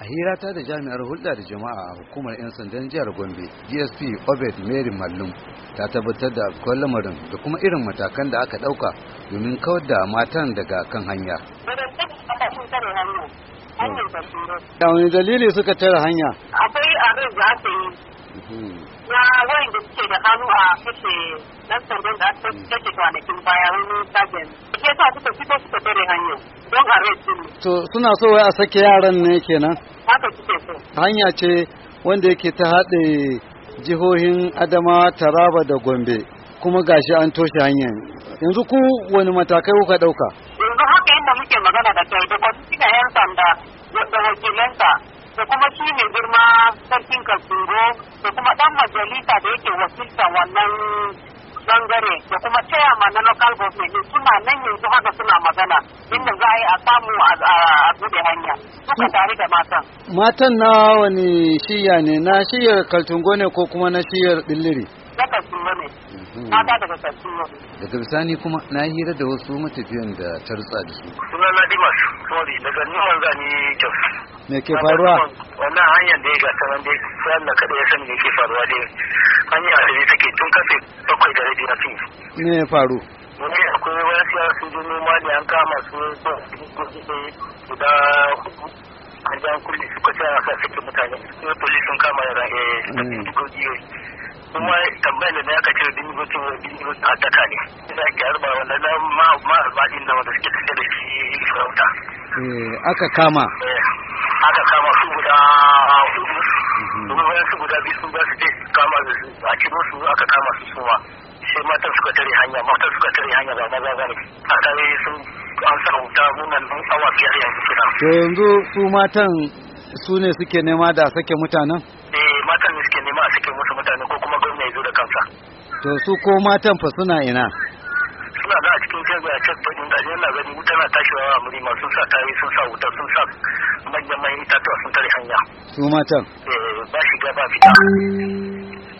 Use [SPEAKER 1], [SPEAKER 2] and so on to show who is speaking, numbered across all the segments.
[SPEAKER 1] a hirata da jami'ar hulɗa da jama'a a hukumar 'yan sandan jihar gombe dsp obed mary mallum ta tabbatar da akwai lamarin da kuma irin matakan da aka ɗauka domin kawar da matan daga kan hanya da wani dalili suka tare hanya
[SPEAKER 2] akwai abin da aka yi
[SPEAKER 1] Mhm.
[SPEAKER 2] na wayan da suke da hannu a kashe dan sandan da aka kashe kwanakin baya wani sajen ke sa suka fito suka tare hanya don a rai
[SPEAKER 1] to suna so wai a sake yaran ne kenan
[SPEAKER 2] haka suke so
[SPEAKER 1] hanya ce wanda yake ta haɗe jihohin adamawa taraba da gombe kuma gashi an toshe hanyar yanzu ku wani matakai kuka ɗauka
[SPEAKER 2] yanzu haka yadda muke magana da kai da kwasu suna yan sanda da wakilanta da kuma shi mai girma sarkin kasuro da kuma dan majalisa da yake wakilta wannan bangare da kuma chairman na local government suna nan yanzu haka suna magana inda za a yi a samu a bude hanya suka tare da matan
[SPEAKER 1] matan na wani shiya ne na shiyar kaltungo ne ko kuma na shiyar dilliri
[SPEAKER 2] na kasuro ne
[SPEAKER 3] Mm.
[SPEAKER 2] mata daga kasuro
[SPEAKER 1] daga bisani kuma na hira da wasu matafiyan da ta rutsa da su
[SPEAKER 3] suna na dimas sorry daga numan zani jos
[SPEAKER 1] me ke faruwa
[SPEAKER 3] wannan hanyar da ya ga sanan dai sayan da kada ya sani da ke faruwa dai hanyar da ya take tun kafe bakwai da rabi na fiye
[SPEAKER 1] me ya faru
[SPEAKER 3] wani akwai wani siyar sun je noma ne an kama su su guda hudu an jan kulle suka ce a sa suke mutane kuma polis sun kama eh, da
[SPEAKER 1] Mm.
[SPEAKER 3] ra'ayi kuma tambayar da na ya kace dingoci wa dingoci a taka ne da ake harba wanda na ma ma albadin da wanda suke tafiya da shi farauta
[SPEAKER 1] Eh, aka kama
[SPEAKER 3] aka kama su guda hudu kuma bayan su guda biyu sun ba su je su kama da su a ciro su aka kama su suma sai matan suka tare hanya matan suka tare hanya ba maza ba ne a kare sun an sa wuta munan mun awa biyar yanzu suna
[SPEAKER 1] to yanzu su matan su ne suke nema da sake mutanen
[SPEAKER 3] eh matan ne suke nema a sake musu mutane ko kuma gwamna ya zo da kansa
[SPEAKER 1] to su ko matan fa suna ina
[SPEAKER 3] suna da a cikin jirgin a cikin fadin da yana gani wuta na tashiwa a murima sun sa tare sun sa wuta sun sa manyan manyan itatuwa sun tare hanya
[SPEAKER 1] su matan
[SPEAKER 3] eh ba shiga ba fita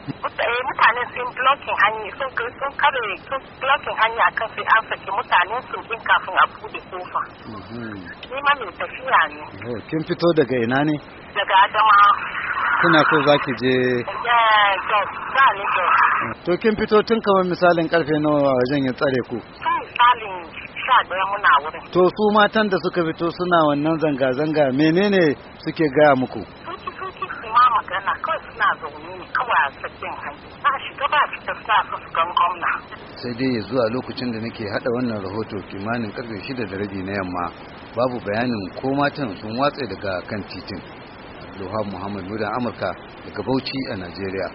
[SPEAKER 2] Eh, mutane mutanen sun blocking hanya sun sun kare sun blocking hanya kan sai an saki mutanen su din kafin a bude kofa
[SPEAKER 1] Mhm.
[SPEAKER 2] ni ma mai tafiya ne
[SPEAKER 1] Oh, kin fito daga ina ne
[SPEAKER 2] daga adama
[SPEAKER 1] kina so za ki je
[SPEAKER 2] ya ya za ni da
[SPEAKER 1] to kin fito tun kamar misalin karfe nawa wajen ya tsare ku
[SPEAKER 2] sun tsalin sha daya muna wurin
[SPEAKER 1] to su matan da suka fito suna wannan zanga-zanga menene suke gaya muku
[SPEAKER 2] suki suki su ma magana kawai suna zaune ne kawai a sakin hanya ba shiga ba fita suna so su gan gwamna
[SPEAKER 1] sai dai ya zuwa lokacin da nake hada wannan rahoto kimanin karfe shida da rabi na yamma babu bayanin ko matan sun watse daga kan titin Abdulwahab Muhammad Muda Amurka daga Bauchi a Najeriya